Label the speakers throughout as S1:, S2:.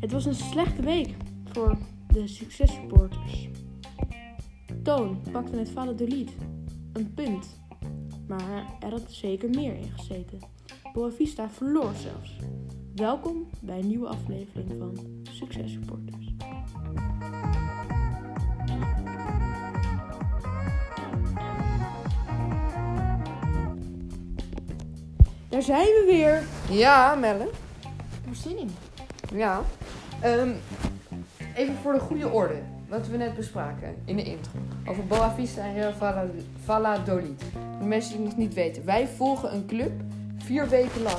S1: Het was een slechte week voor de successupporters. Toon pakte met Valladolid een punt, maar er had zeker meer in gezeten. Boavista verloor zelfs. Welkom bij een nieuwe aflevering van Successupporters. Daar zijn we weer.
S2: Ja, Melle.
S1: Ik heb er zin in.
S2: Ja. Ehm, even voor de goede orde. Wat we net bespraken in de intro. Over Boavista en Real Valla- Valladolid. Voor de mensen die het niet weten. Wij volgen een club vier weken lang.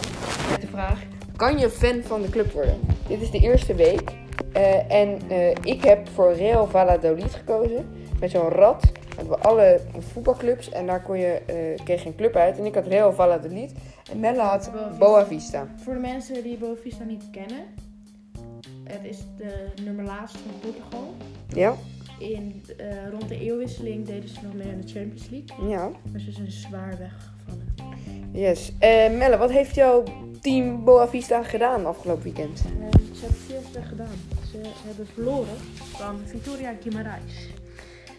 S2: Met de vraag, kan je fan van de club worden? Dit is de eerste week. Eh, en eh, ik heb voor Real Valladolid gekozen. Met zo'n rad. Hebben we alle voetbalclubs. En daar kon je, eh, kreeg je een club uit. En ik had Real Valladolid. En Melle had
S1: Boavista.
S2: Boavista.
S1: Voor de mensen die Boavista niet kennen, het is de nummer laatste van Portugal.
S2: Ja,
S1: In, eh, rond de eeuwwisseling deden ze nog mee aan de Champions League,
S2: ja.
S1: maar ze zijn zwaar weggevallen.
S2: Yes. Eh, Melle, wat heeft jouw team Boavista gedaan afgelopen weekend?
S1: Eh, ze hebben het heel slecht gedaan. Ze hebben verloren van Victoria Guimarães.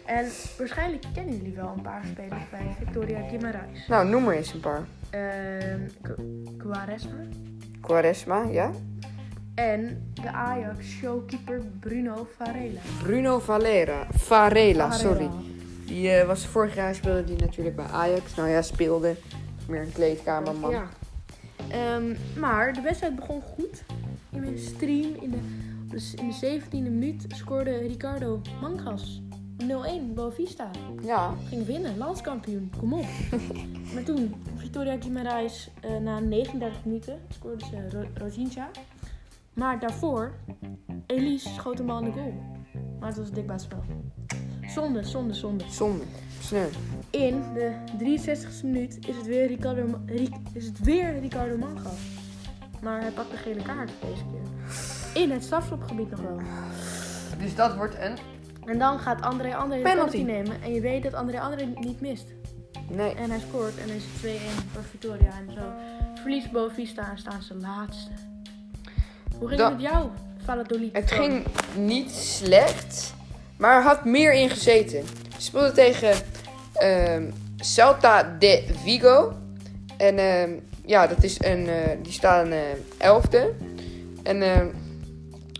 S1: En waarschijnlijk kennen jullie wel een paar spelers bij Victoria Guimarães.
S2: Nou, noem er eens een paar.
S1: Ehm Qu- Quaresma
S2: Quaresma, ja.
S1: en de Ajax showkeeper Bruno Varela.
S2: Bruno Valera. Varela, Nou, sorry. Die eh, was vorig jaar speelde die natuurlijk bij Ajax. Nou ja, speelde. Meer een kleedkamerman.
S1: Ja. Ehm, maar de wedstrijd begon goed. In mijn stream, in de, dus in de 17e minuut, scoorde Ricardo Mangas 0-1 Boavista.
S2: Ja.
S1: Ging winnen, landskampioen, kom op. maar toen, Victoria Guimarães, eh, na 39 minuten, scoorde ze Ro Rosinja. Maar daarvoor, Elise schoot hem al in de goal. Maar het was een dikbaar spel. Zonde, zonde, zonde.
S2: Zonde. Sneu.
S1: In de 63ste minuut is het weer Ricardo, Ma- Ri- is het weer Ricardo Mangas. Maar hij pakt de gele kaart deze keer. In het strafschopgebied nog wel.
S2: Dus dat wordt een...
S1: En dan gaat André André de penalty
S2: Penalty.
S1: nemen. En je weet dat André André niet mist.
S2: Nee.
S1: En hij scoort en dan is het 2-1 voor Victoria. En zo verliest Bovista en staan ze laatste. Hoe ging
S2: Da-
S1: het met jou, Valladolid?
S2: Het ging niet slecht, maar er had meer in gezeten. Ze speelden tegen ehm Celta de Vigo. En ehm, ja, dat is een, eh, die staan eh elfde. En ehm,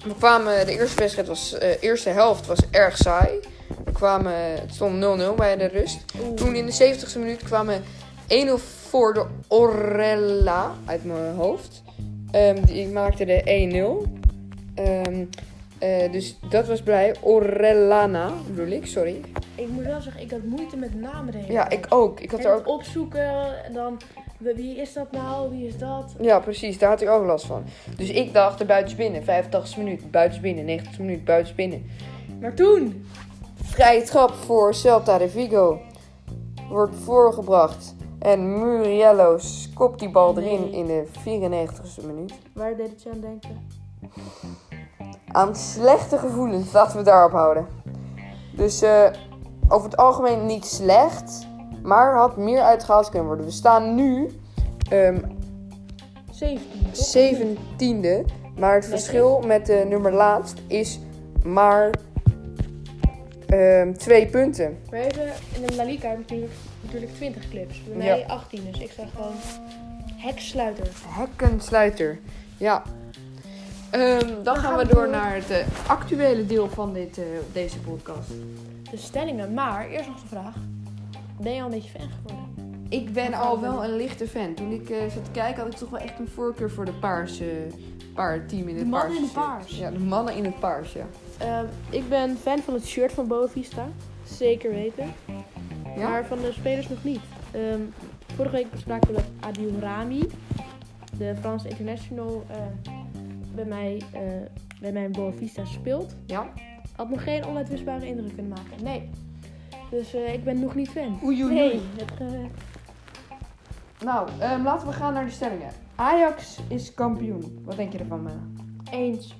S2: we kwamen, de eerste wedstrijd was, eh, eerste helft was erg saai. We kwamen, het stond 0-0 bij de rust.
S1: Oeh.
S2: Toen in de 70ste minuut kwamen 1-0 voor de Orella uit mijn hoofd. Ehm, die maakte de 1-0. Ehm, eh, dus dat was blij. Orellana bedoel ik, sorry.
S1: Ik moet wel zeggen, ik had moeite met namen de hele
S2: Ja,
S1: tijd.
S2: ik ook. Ik had
S1: En
S2: er
S1: het
S2: ook...
S1: opzoeken en dan wie wie is dat nou, wie is dat.
S2: Ja, precies. Daar had ik ook last van. Dus ik dacht, de buitens binnen. 85 minuut, buitens binnen. 90 minuut, buitens binnen.
S1: Maar toen,
S2: Vrije trap voor Celta de Vigo. Wordt voorgebracht. En Muriello kopt die bal erin
S1: Nee.
S2: in de 94ste minuut.
S1: waar deed het je aan denken?
S2: aan slechte gevoelens. Laten we daarop houden. Dus eh, over het algemeen niet slecht. Maar had meer uitgehaald kunnen worden. We staan nu ehm
S1: 17. toch?
S2: 17e. Maar het
S1: Netjes.
S2: verschil met de nummer laatst is maar ehm, twee punten.
S1: Maar even, in de La Liga heb ik natuurlijk, natuurlijk 20 clips. Bij mij
S2: Ja.
S1: 18, dus ik zeg gewoon heksluiter.
S2: Hekkensluiter. Ja. Ehm, dan gaan we door naar het eh, actuele deel van dit, eh, deze podcast.
S1: De stellingen, maar eerst nog de vraag. Ben je al een beetje fan geworden?
S2: Ik ben al wel een lichte fan. Toen ik eh, zat te kijken had ik toch wel echt een voorkeur voor de paarse paar team in het
S1: De mannen
S2: paarse
S1: in het
S2: shirt.
S1: paars.
S2: Ja, de mannen in het paars, ja.
S1: Ehm, ik ben fan van het shirt van Boavista. Zeker weten.
S2: Ja?
S1: Maar van de spelers nog niet. Ehm, vorige week bespraken we Adil Rami, de Franse international, eh, bij, mij, eh, bij mijn Boavista speelt.
S2: Ja.
S1: Had nog geen onuitwisbare indruk kunnen maken. Nee. Dus eh, ik ben nog niet fan.
S2: Oei, oei,
S1: Nee.
S2: oei.
S1: het, eh,
S2: Nou, ehm, laten we gaan naar de stellingen. Ajax is kampioen. Wat denk je ervan, Mela?
S1: eens.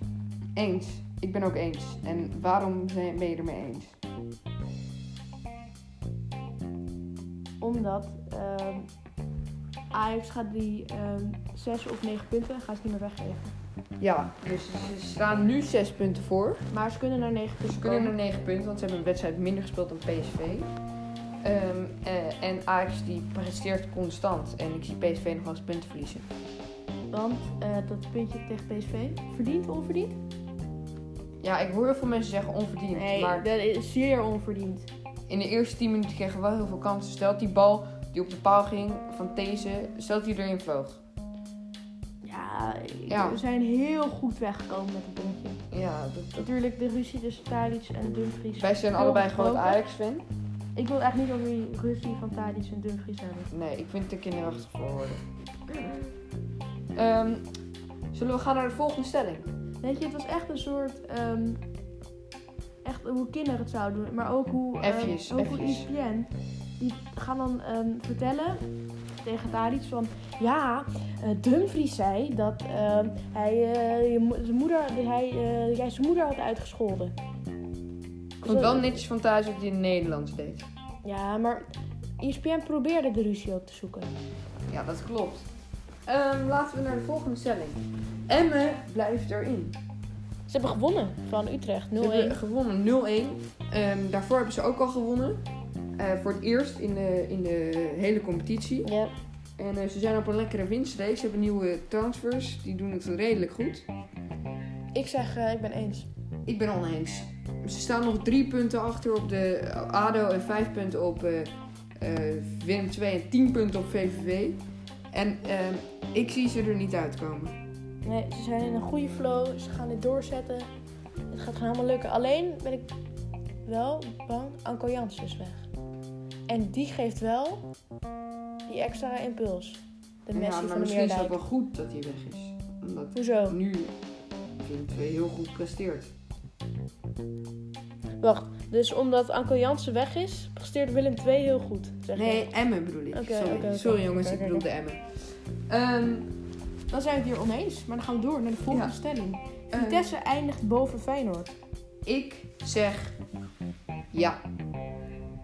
S2: Eens. Ik ben ook eens. En waarom zijn- ben je ermee eens?
S1: Omdat ehm, Ajax gaat die ehm, zes of negen punten gaat ze niet meer weggeven.
S2: Ja, dus ze staan nu 6 punten voor.
S1: Maar ze kunnen naar 9 punten
S2: Dus Ze kunnen naar
S1: komen.
S2: 9 punten, want ze hebben een wedstrijd minder gespeeld dan PSV. Ehm, eh, en Ajax die presteert constant. En ik zie PSV nog wel eens punten verliezen.
S1: Want eh, dat puntje tegen PSV, verdiend, onverdiend?
S2: Ja, ik hoor heel veel mensen zeggen onverdiend.
S1: Nee,
S2: maar
S1: dat is zeer onverdiend.
S2: in de eerste 10 minuten kregen we wel heel veel kansen. Stelt die bal die op de paal ging van deze, stelt die erin vloog.
S1: Ja, ik-
S2: Ja.
S1: we zijn heel goed weggekomen met het puntje.
S2: Ja, dat, dat-
S1: Natuurlijk de ruzie tussen Tadic en Dumfries.
S2: wij zijn
S1: Heel
S2: allebei
S1: gesproken.
S2: groot Ajax-fan.
S1: Ik wil echt niet over die ruzie van Tadic en Dumfries hebben.
S2: Nee, ik vind het te kinderachtig voor woorden. Ehm, zullen we gaan naar de volgende stelling?
S1: Weet je, het was echt een soort... ehm, echt hoe kinderen het zouden doen. Maar ook hoe... ehm,
S2: Effjes,
S1: ook hoe
S2: effjes.
S1: ESPN. Die gaan dan ehm, vertellen tegen Tadic van... Ja, eh, Dumfries zei dat ehm, hij, eh, je mo- zijn moeder, hij, eh, jij zijn moeder had uitgescholden.
S2: Ik vond het wel netjes van thuis dat hij in Nederlands deed.
S1: Ja, maar E ESPN probeerde de ruzie op te zoeken.
S2: Ja, dat klopt. Ehm, laten we naar de volgende stelling. Emmen blijft erin.
S1: Ze hebben gewonnen van Utrecht, 0-1.
S2: Ze hebben gewonnen 0-1. Ehm, daarvoor hebben ze ook al gewonnen. Eh, voor het eerst in de, in de hele competitie.
S1: Ja,
S2: En eh, ze zijn op een lekkere winstreeks. Ze hebben nieuwe transfers. Die doen het redelijk goed.
S1: ik zeg, eh, ik ben eens.
S2: Ik ben oneens. Ze staan nog drie punten achter op de eh, ADO en vijf punten op eh eh, Willem 2 en tien punten op VVV. En ehm, ik zie ze er niet uitkomen.
S1: Nee, ze zijn in een goede flow, ze gaan dit doorzetten. Het gaat gewoon helemaal lukken. Alleen ben ik wel bang, Anko Jans is weg. En die geeft wel die extra impuls. De Messi
S2: maar
S1: van de
S2: misschien is dat
S1: Meerdijk.
S2: wel goed dat hij weg is. Omdat
S1: Hoezo?
S2: nu Willem 2 heel goed presteert.
S1: Wacht, dus omdat Anko Jansen weg is, presteert Willem II heel goed. Zeg
S2: Nee, Emmen bedoel ik.
S1: Oké,
S2: Sorry,
S1: oké, oké.
S2: Sorry jongens,
S1: Oké,
S2: ik
S1: oké,
S2: bedoelde Emmen. Ehm,
S1: Dan zijn we het hier oneens, maar dan gaan we door naar de volgende
S2: Ja.
S1: stelling.
S2: ehm,
S1: Vitesse eindigt boven Feyenoord.
S2: ik zeg ja.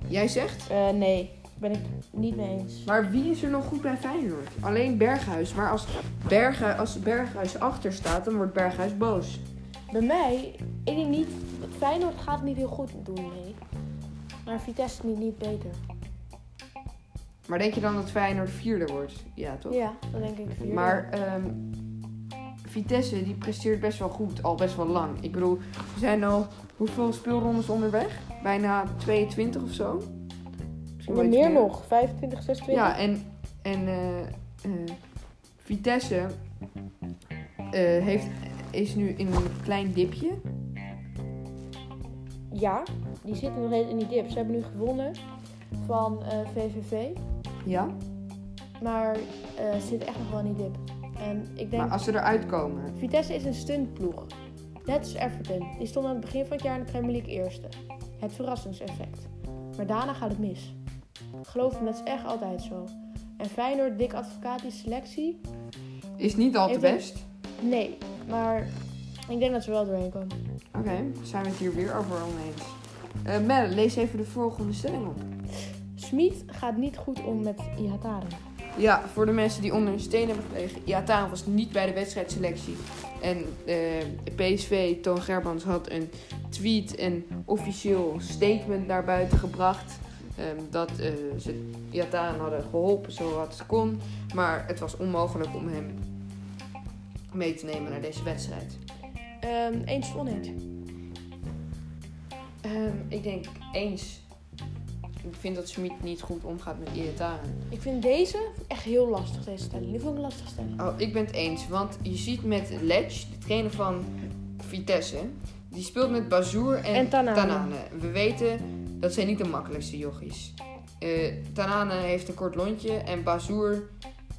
S2: Jij zegt?
S1: Eh, nee, ben ik niet mee eens.
S2: Maar wie is er nog goed bij Feyenoord? Alleen Berghuis. Maar als, Berghuis als Berghuis achter staat, dan wordt Berghuis boos.
S1: Bij mij, ik denk niet, Feyenoord gaat het niet heel goed doen, nee. Maar Vitesse niet, niet beter.
S2: Maar denk je dan dat Feyenoord vierde wordt? Ja, toch?
S1: Ja, dan denk ik vier.
S2: Maar ehm, Vitesse die presteert best wel goed, al best wel lang. Ik bedoel, we zijn al hoeveel speelrondes onderweg? Bijna 22 of zo. Misschien wel
S1: maar
S2: iets
S1: meer nog, 25, 26.
S2: Ja, en, en eh, eh, Vitesse eh, heeft, is nu in een klein dipje.
S1: Ja, die zitten nog steeds in die dip. Ze hebben nu gewonnen van eh, VVV,
S2: Ja.
S1: maar eh, ze zitten echt nog wel in die dip. En ik denk,
S2: Maar als ze eruit komen,
S1: Vitesse is een stuntploeg. Net als Everton, die stond aan het begin van het jaar in de Premier League eerste. Het verrassingseffect. Maar daarna gaat het mis. Geloof me, dat is echt altijd zo. En Feyenoord, dik advocaat, die selectie?
S2: Is niet al te
S1: Even-
S2: best.
S1: Nee, maar ik denk dat ze wel doorheen komen.
S2: Oké, zijn we het hier weer over oneens. Eh Mel, lees even de volgende stelling op.
S1: Smit gaat niet goed om met Ihataren.
S2: Ja, voor de mensen die onder een steen hebben gelegen. Ja, Taan was niet bij de wedstrijdselectie. En eh, PSV, Toon Gerbrands, had een tweet en officieel statement naar buiten gebracht. ehm, dat eh, ze Jataan hadden geholpen zo wat ze kon. Maar het was onmogelijk om hem mee te nemen naar deze wedstrijd.
S1: Ehm eens of oneens?
S2: Ehm, ik denk eens. Ik vind dat Schmid niet goed omgaat met Iataren.
S1: Ik vind deze echt heel lastig, deze stelling. Die vond ik een lastige stelling.
S2: Oh, ik ben het eens. Want je ziet met Ledge, de trainer van Vitesse, die speelt met Bazour en,
S1: En Tanane.
S2: We weten dat zijn niet de makkelijkste jochies. Eh Tanane heeft een kort lontje en Bazour,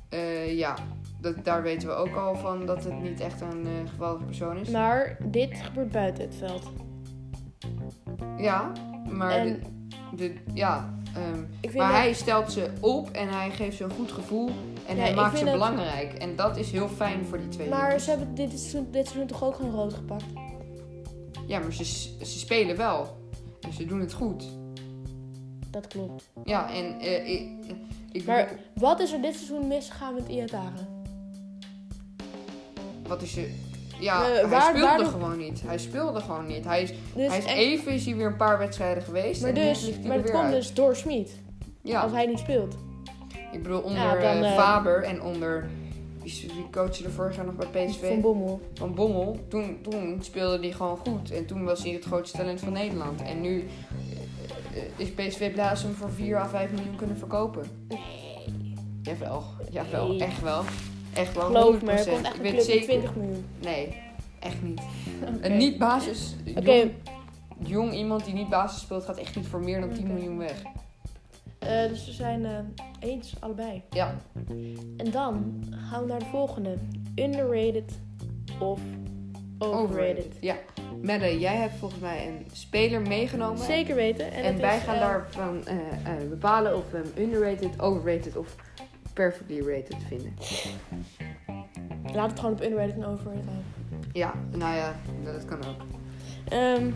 S2: eh, ja, dat, daar weten we ook al van dat het niet echt een eh geweldige persoon
S1: Nou,
S2: is.
S1: Maar dit gebeurt buiten het veld.
S2: ja, maar
S1: En-
S2: de, de, ja, ehm,
S1: Ik vind
S2: Maar
S1: dat-
S2: hij stelt ze op en hij geeft ze een goed gevoel. En
S1: Ja,
S2: hij
S1: ik
S2: maakt
S1: vind
S2: ze
S1: dat-
S2: belangrijk. En dat is heel fijn voor die twee.
S1: Maar
S2: jongens.
S1: ze hebben dit seizoen, dit seizoen toch ook gewoon rood gepakt?
S2: Ja, maar ze, ze spelen wel. En ze doen het goed.
S1: Dat klopt.
S2: Ja, en eh, ik, ik
S1: Maar wat is er dit seizoen misgegaan met Iataren?
S2: wat is er Ja,
S1: Eh,
S2: hij
S1: waar-
S2: speelde
S1: waardoor-
S2: gewoon niet. Hij speelde gewoon niet. Hij is,
S1: Dus
S2: hij is
S1: echt-
S2: even is hij weer een paar wedstrijden geweest.
S1: maar
S2: en nu
S1: dus,
S2: vliegt hij
S1: maar
S2: er
S1: dat
S2: weer
S1: kwam
S2: uit.
S1: dus door Smit.
S2: Ja,
S1: Als hij niet speelt.
S2: ik bedoel onder
S1: Ja, dan,
S2: eh,
S1: eh,
S2: Faber en onder... Wie, is- wie coachte er vorig jaar nog bij PSV?
S1: Van Bommel.
S2: Van Bommel, toen, toen speelde hij gewoon goed. En toen was hij het grootste talent van Nederland. En nu eh, eh, is PSV Blaas hem voor 4 à 5 miljoen kunnen verkopen.
S1: Nee.
S2: Jawel, jawel,
S1: Nee.
S2: echt wel. Echt wel,
S1: Geloof
S2: 100%.
S1: me, er komt echt
S2: ik
S1: een
S2: weet
S1: club met
S2: zeker.
S1: 20 miljoen.
S2: Nee, echt niet.
S1: Oké.
S2: Een niet basis.
S1: Oké,
S2: Jong, jong iemand die niet basis speelt, gaat echt niet voor meer dan 10
S1: Oké.
S2: miljoen weg.
S1: eh, dus we zijn eh, eens, allebei.
S2: Ja,
S1: En dan gaan we naar de volgende. Underrated of overrated.
S2: Ja. Melle, jij hebt volgens mij een speler meegenomen.
S1: Zeker weten. En,
S2: En,
S1: het
S2: wij
S1: is,
S2: gaan
S1: eh,
S2: daarvan eh, eh, bepalen of we hem underrated, overrated of perfectly rated vinden.
S1: eh, Laat het gewoon op underrated en overrated houden.
S2: Ja, nou ja, dat kan ook.
S1: Ehm,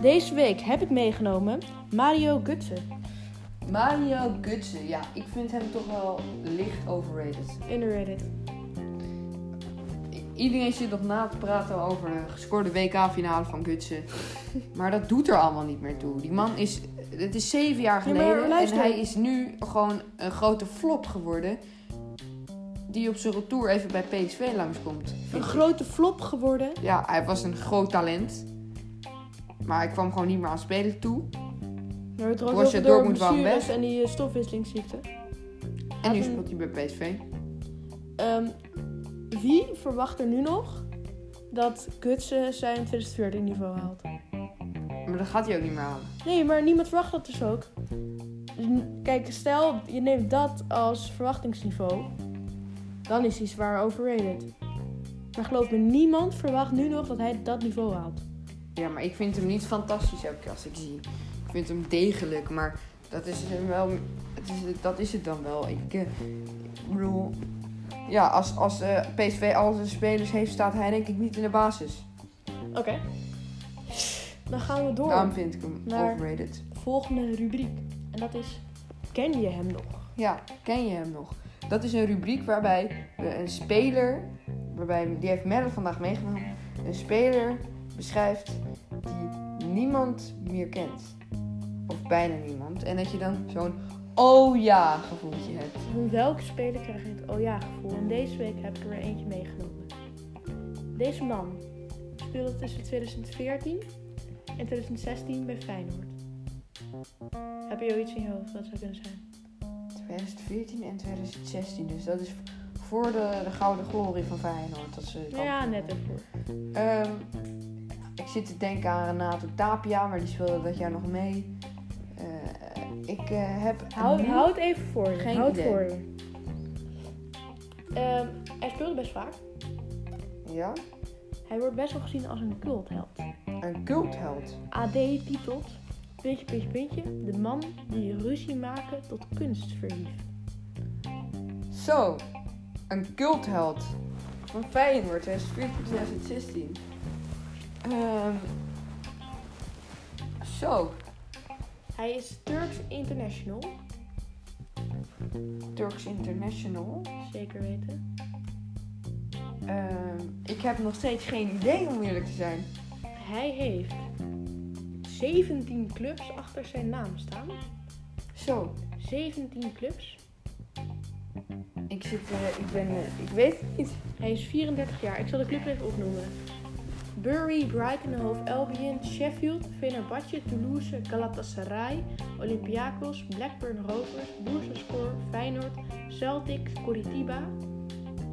S1: deze week heb ik meegenomen Mario Gutsen.
S2: Mario Gutsen, ja, ik vind hem toch wel licht overrated.
S1: Underrated.
S2: I- Iedereen zit nog na te praten over de gescoorde WK-finale van Gutsen. maar dat doet er allemaal niet meer toe. Die man is, het is zeven jaar
S1: Ja, maar
S2: geleden en
S1: luister.
S2: hij is nu gewoon een grote flop geworden. Die op zijn retour even bij PSV langskomt.
S1: Een
S2: vind ik.
S1: grote flop geworden.
S2: Ja, hij was een groot talent. Maar hij kwam gewoon niet meer aan spelen toe.
S1: Maar het was
S2: Borussia
S1: ook door
S2: Dortmund wou hem
S1: blessures
S2: weg.
S1: en die eh, stofwisselingsziekte.
S2: En nu
S1: Laten we-
S2: speelt hij bij PSV.
S1: Ehm, wie verwacht er nu nog dat Gutsen zijn 2014 niveau haalt?
S2: Maar dat gaat hij ook niet meer halen.
S1: Nee, maar niemand verwacht dat dus ook. Dus n- Kijk, stel je neemt dat als verwachtingsniveau, dan is hij zwaar overrated. Maar geloof me, niemand verwacht nu nog dat hij dat niveau haalt.
S2: Ja, maar ik vind hem niet fantastisch elke keer als ik zie. Ik vind hem degelijk, maar dat is hem wel. Het is, dat is het dan wel. Ik, eh, ik bedoel. Ja, als, als eh, PSV al zijn spelers heeft, staat hij denk ik niet in de basis.
S1: Oké. Dan gaan we door.
S2: Daarom vind ik hem
S1: Oh. Maar-
S2: overrated.
S1: Volgende rubriek. En dat is, ken je hem nog?
S2: Ja, ken je hem nog? Dat is een rubriek waarbij we een speler, waarbij, die heeft Merle vandaag meegenomen, een speler beschrijft die niemand meer kent. Of bijna niemand. En dat je dan zo'n oh ja gevoeltje hebt.
S1: Van welke speler krijg je het oh ja gevoel? En deze week heb ik er weer eentje meegenomen. Deze man speelde tussen 2014 en 2016 bij Feyenoord. Heb je zoiets in je hoofd? Wat zou kunnen zijn?
S2: 2014 en 2016, dus dat is voor de, de gouden glorie van Feyenoord. Dat ze kampioen
S1: Nou Ja, net
S2: werden.
S1: ervoor.
S2: Ehm, ik zit te denken aan Renato Tapia, maar die speelde dat jaar nog mee. Eh, ik eh, heb...
S1: Houd,
S2: nu-
S1: houd even voor je.
S2: Geen
S1: houd
S2: idee.
S1: voor je. Ehm, hij speelde best vaak.
S2: Ja?
S1: Hij wordt best wel gezien als een cultheld.
S2: Een cultheld.
S1: AD titelt, puntje, puntje, puntje, de man die ruzie maken tot kunst verhief.
S2: Zo, een cultheld. Van Feyenoord 2014 2016. Ehm, zo,
S1: Hij is Turks international,
S2: Turks International.
S1: zeker weten.
S2: Ehm, ik heb nog steeds geen idee om eerlijk te zijn.
S1: Hij heeft 17 clubs achter zijn naam staan.
S2: Zo,
S1: 17 clubs.
S2: ik zit, eh, ik ben, eh, ik weet het niet.
S1: Hij is 34 jaar. Ik zal de club even opnoemen. Bury, Brighton, Hove Albion, Sheffield, Fenerbahce, Toulouse, Galatasaray, Olympiakos, Blackburn Rovers, Bursaspor, Feyenoord, Celtic, Coritiba,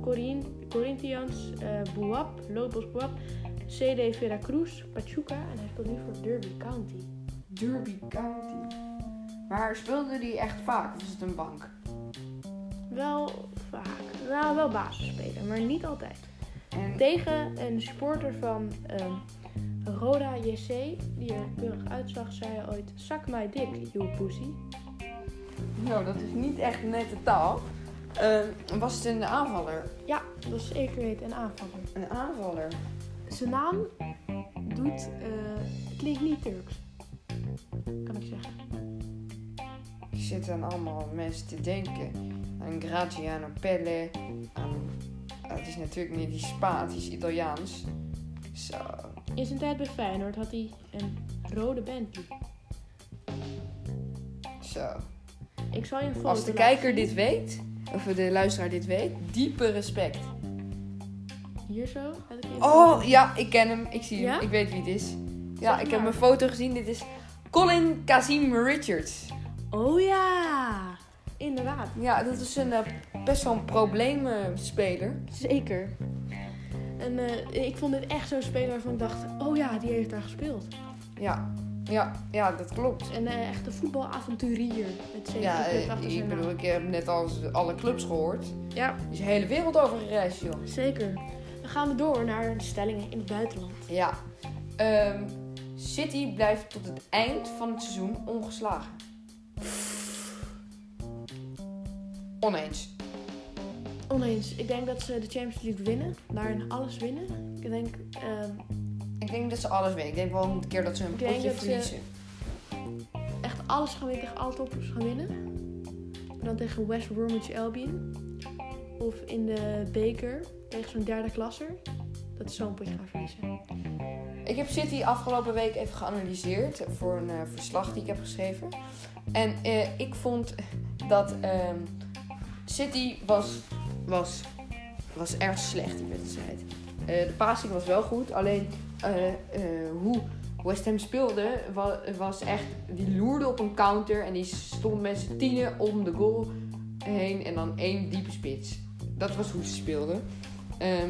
S1: Corin- Corinthians, eh Buap, Lobos Buap, CD Veracruz, Pachuca en hij speelt nu voor Derby County.
S2: Derby County. Maar speelde die echt vaak of is het een bank?
S1: Wel vaak, nou wel basisspeler, maar niet altijd.
S2: En
S1: Tegen een supporter van ehm, Roda JC, die er keurig uitzag, zei hij ooit: Zak mij dik, you pussy.
S2: nou, dat is niet echt nette taal. Ehm, was het een aanvaller?
S1: Ja, dat is zeker weten, een aanvaller.
S2: Een aanvaller.
S1: Zijn naam doet, eh, klinkt niet Turks, kan ik zeggen.
S2: Er zitten allemaal mensen te denken aan Graziano Pelle. Aan, het is natuurlijk niet die Spaans, het is Italiaans. Zo.
S1: In zijn tijd bij Feyenoord had hij een rode Bentley.
S2: Zo.
S1: Ik zal je een foto
S2: Als de
S1: laten zien.
S2: kijker dit weet, of de luisteraar dit weet, diepe respect.
S1: Hier zo. laat ik even-
S2: Oh, ja, ik ken hem. Ik zie hem.
S1: Ja?
S2: Ik weet wie het is.
S1: Zeg
S2: Ja, ik heb
S1: maar.
S2: mijn foto gezien. Dit is Colin Kazim Richards.
S1: Oh ja! Inderdaad.
S2: Ja, dat is een eh, best wel een probleemspeler.
S1: Zeker. En eh, ik vond dit echt zo'n speler waarvan ik dacht, oh ja, die heeft daar gespeeld.
S2: ja. Ja, ja, dat klopt.
S1: En eh, echt een voetbalavavonturier. Met zeven
S2: Ja,
S1: clubs
S2: eh,
S1: achter
S2: ik
S1: zijn
S2: bedoel,
S1: naam.
S2: ik heb net al alle clubs gehoord.
S1: Ja,
S2: Die is de hele wereld over gereisd, joh.
S1: zeker. Dan gaan we door naar de stellingen in het buitenland.
S2: Ja. Ehm, City blijft tot het eind van het seizoen ongeslagen. Oneens.
S1: Oneens. Ik denk dat ze de Champions League winnen. Daarin alles winnen. Ik denk, ehm,
S2: Ik denk dat ze alles winnen. Ik denk wel een keer dat ze een
S1: Ik denk
S2: potje
S1: dat ze-
S2: verliezen.
S1: echt alles gaan winnen, tegen alle toppers gaan winnen. En dan tegen West Bromwich Albion. Of in de beker tegen zo'n derde klasser. Dat is zo'n potje gaan verliezen.
S2: Ik heb City afgelopen week even geanalyseerd voor een eh, verslag die ik heb geschreven. En eh, ik vond dat ehm, City was, was, was erg slecht die wedstrijd. Eh, de passing was wel goed, alleen eh, eh, hoe West Ham speelde was, was echt... Die loerde op een counter en die stond met z'n tienen om de goal heen en dan één diepe spits. Dat was hoe ze speelden. Ehm,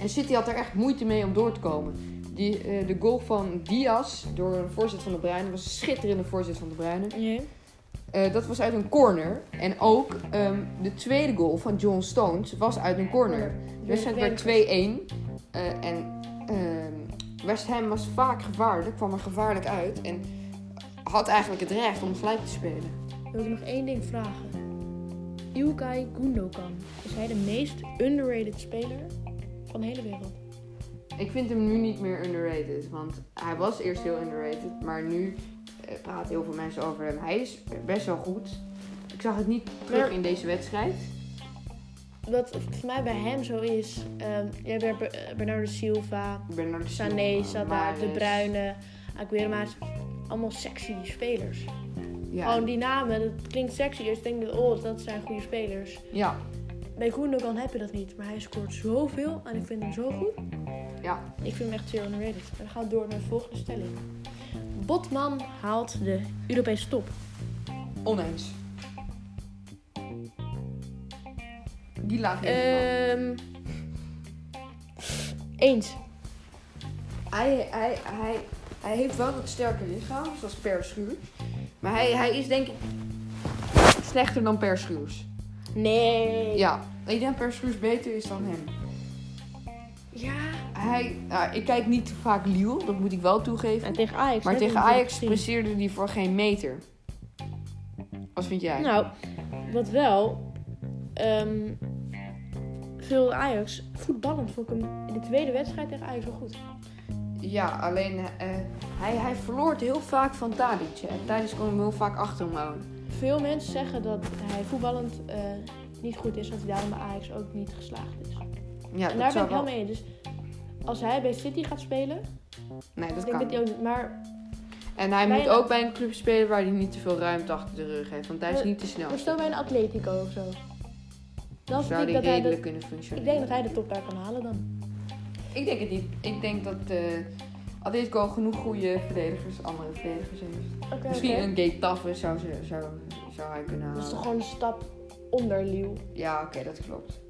S2: en City had er echt moeite mee om door te komen. Die, eh, de goal van Diaz door een voorzet van de Bruyne was een schitterende voorzet van de Bruyne. Eh, dat was uit een corner. En ook ehm, de tweede goal van John Stones was uit een corner. De wedstrijd werd 2-1. eh, en ehm, West Ham was vaak gevaarlijk, kwam er gevaarlijk uit. En had eigenlijk het recht om gelijk te spelen.
S1: Wil ik nog één ding vragen? Ilkay Gundogan. Is hij de meest underrated speler van de hele wereld?
S2: Ik vind hem nu niet meer underrated. Want hij was eerst heel underrated. Maar nu eh, praten heel veel mensen over hem. Hij is best wel goed. Ik zag het niet terug
S1: Maar-
S2: in deze wedstrijd.
S1: Wat voor mij bij hem zo is, ehm je hebt Ber- eh, Bernardo Silva,
S2: Ik ben naar de
S1: Sané,
S2: Silva,
S1: Sada, De
S2: Mahrez.
S1: Bruyne, Aguero, maar het zijn allemaal sexy spelers.
S2: Ja.
S1: Gewoon die namen, dat klinkt sexy, dus ik denk dat, oh, dat zijn goede spelers.
S2: ja,
S1: Bij Gundogan heb je dat niet, maar hij scoort zoveel en ik vind hem zo goed.
S2: ja.
S1: Ik vind hem echt zeer underrated. En dan gaan we door naar de volgende stelling. Botman haalt de Europese top.
S2: Oneens. Die laat ik helemaal.
S1: Ehm eens.
S2: hij, hij, hij, hij heeft wel een sterker lichaam, zoals Per Schuurs. Maar hij, hij is denk ik slechter dan Per Schuurs.
S1: Nee.
S2: Ja, ik denk dat Per Schuurs beter is dan hem.
S1: Ja.
S2: Hij, nou, ik kijk niet vaak Liel, dat moet ik wel toegeven.
S1: En tegen Ajax.
S2: Maar
S1: heb je
S2: tegen
S1: hem
S2: Ajax
S1: gezien.
S2: presteerde hij voor geen meter. Wat vind jij?
S1: Nou, wat wel. ehm, veel Ajax voetballend vond ik hem in de tweede wedstrijd tegen Ajax wel goed.
S2: Ja, alleen eh, hij, hij verloor het heel vaak van Tadic. hè. Tadic kon hem heel vaak achter hem houden.
S1: Veel mensen zeggen dat hij voetballend eh, niet goed is, dat hij daarom bij Ajax ook niet geslaagd is.
S2: Ja,
S1: en
S2: dat
S1: daar ben
S2: zou
S1: ik wel
S2: wel...
S1: mee. Dus als hij bij City gaat spelen,
S2: Nee, dat
S1: denk ik
S2: kan
S1: dat hij
S2: niet.
S1: ook niet. Maar
S2: En hij
S1: Bij
S2: moet
S1: een-
S2: ook bij een club spelen waar hij niet te veel ruimte achter de rug heeft. Want hij is
S1: Maar-
S2: niet te snel. Dus
S1: maar stel bij een Atletico of zo. Dan vind
S2: Zou
S1: ik
S2: hij
S1: dat hij de
S2: redelijk kunnen
S1: Ik
S2: functioneren.
S1: denk dat hij de top daar kan halen dan.
S2: Ik denk het niet. Ik denk dat eh Atletico genoeg goede verdedigers, andere verdedigers heeft.
S1: Oké.
S2: Misschien een Gate Taffe zou, ze- zou, zou hij kunnen
S1: Dat is
S2: halen.
S1: toch gewoon een stap onder Liu.
S2: Ja, oké, dat klopt.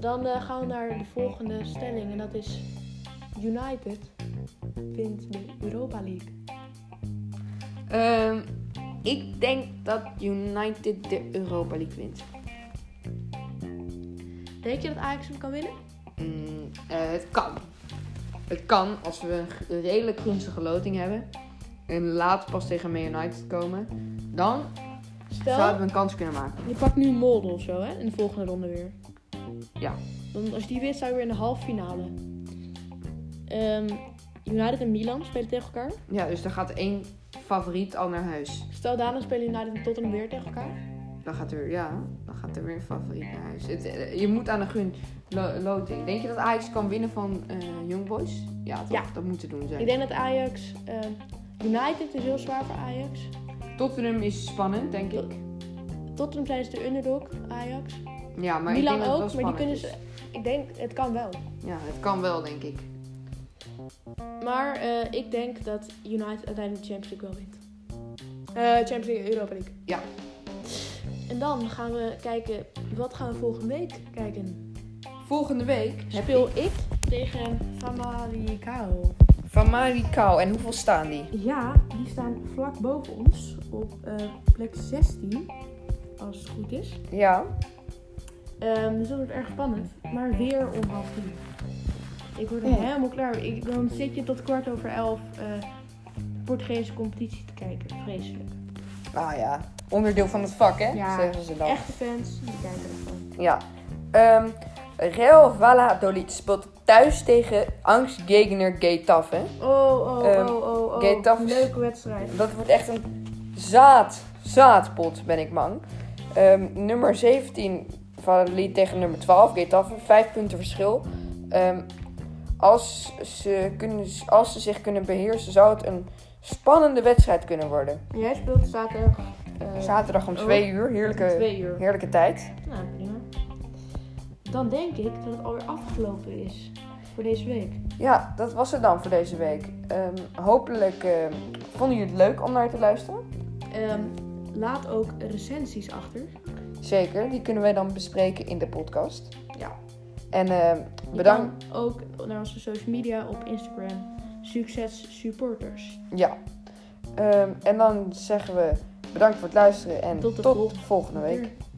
S1: Dan eh, gaan we naar de volgende stelling. En dat is... United wint de Europa League.
S2: Ehm, ik denk dat United de Europa League wint.
S1: Denk je dat Ajax hem kan winnen?
S2: Mm, eh, het kan. Het kan als we een g- redelijk gunstige loting hebben. En laat pas tegen Man United komen. Dan zouden
S1: Stel,
S2: we een kans kunnen maken.
S1: je pakt nu Molde of zo hè, in de volgende ronde weer.
S2: Ja.
S1: Dan, als die wint, zou je weer in de halve finale. Ehm, United en Milan spelen tegen elkaar.
S2: Ja, dus dan gaat één favoriet al naar huis.
S1: Stel, daarna spelen United en Tottenham weer tegen elkaar.
S3: Dan gaat er, ja, dan gaat er weer een favoriet naar huis. Het, eh, je moet aan de gun lo- loting. Denk je dat Ajax kan winnen van eh Young Boys? Ja, toch?
S1: Ja.
S3: Dat moet te doen zijn.
S1: Ik denk dat Ajax... eh, United is heel zwaar voor Ajax.
S3: Tottenham is spannend, denk ik.
S1: Tottenham zijn ze de underdog, Ajax.
S3: Ja, maar ik
S1: Milan
S3: denk dat het
S1: ook,
S3: wel
S1: maar die kunnen
S3: spannend
S1: ze... Ik denk, het kan wel.
S3: is. Ja, het kan wel, denk ik.
S1: Maar eh, ik denk dat United uiteindelijk de Champions League wel wint. Eh, Champions League, Europa League.
S3: Ja.
S1: En dan gaan we kijken, wat gaan we volgende week kijken?
S3: Volgende week heb
S1: Speel ik tegen Famalicão.
S3: Van Marikau. En hoeveel staan die?
S1: Ja, die staan vlak boven ons op eh, plek 16, als het goed is.
S3: Ja.
S1: Ehm, dus dat wordt erg spannend. Maar weer om half tien. Ik word er
S3: Ja.
S1: helemaal klaar. Ik, dan zit je tot kwart over elf eh Portugese competitie te kijken. Vreselijk.
S2: Ah,
S3: Nou ja, onderdeel van het vak, hè?
S1: Ja,
S3: Zeggen ze dan.
S1: Echte fans, die kijken ervan.
S2: Ja. Ehm Real Valladolid speelt thuis tegen Angstgegner Getafe.
S1: Oh, oh,
S2: Ehm,
S1: oh, oh, oh.
S2: Getafe-
S1: Leuke wedstrijd.
S2: Dat wordt echt een zaad, zaadpot, ben ik bang. Ehm, nummer 17 Valladolid tegen nummer 12 Getafe. Vijf punten verschil. Ehm, als, ze kunnen, als ze zich kunnen beheersen, zou het een spannende wedstrijd kunnen worden.
S1: En jij speelt zaterdag eh,
S2: Zaterdag om 2 uur,
S1: om
S2: heerlijke,
S1: twee uur.
S2: heerlijke tijd.
S1: Nou, prima. Dan denk ik dat het alweer afgelopen is voor deze week.
S2: Ja, dat was het dan voor deze week. Ehm, hopelijk ehm, vonden jullie het leuk om naar te luisteren.
S1: Ehm, laat ook recensies achter.
S2: Zeker, die kunnen wij dan bespreken in de podcast.
S1: Ja.
S2: En eh,
S1: Je
S2: bedankt.
S1: kan ook naar onze social media op Instagram. Succes supporters.
S2: Ja. Ehm, en dan zeggen we bedankt voor het luisteren en
S1: Tot
S2: tot
S1: de
S2: de
S1: volgende
S2: volgende week.
S1: Doei.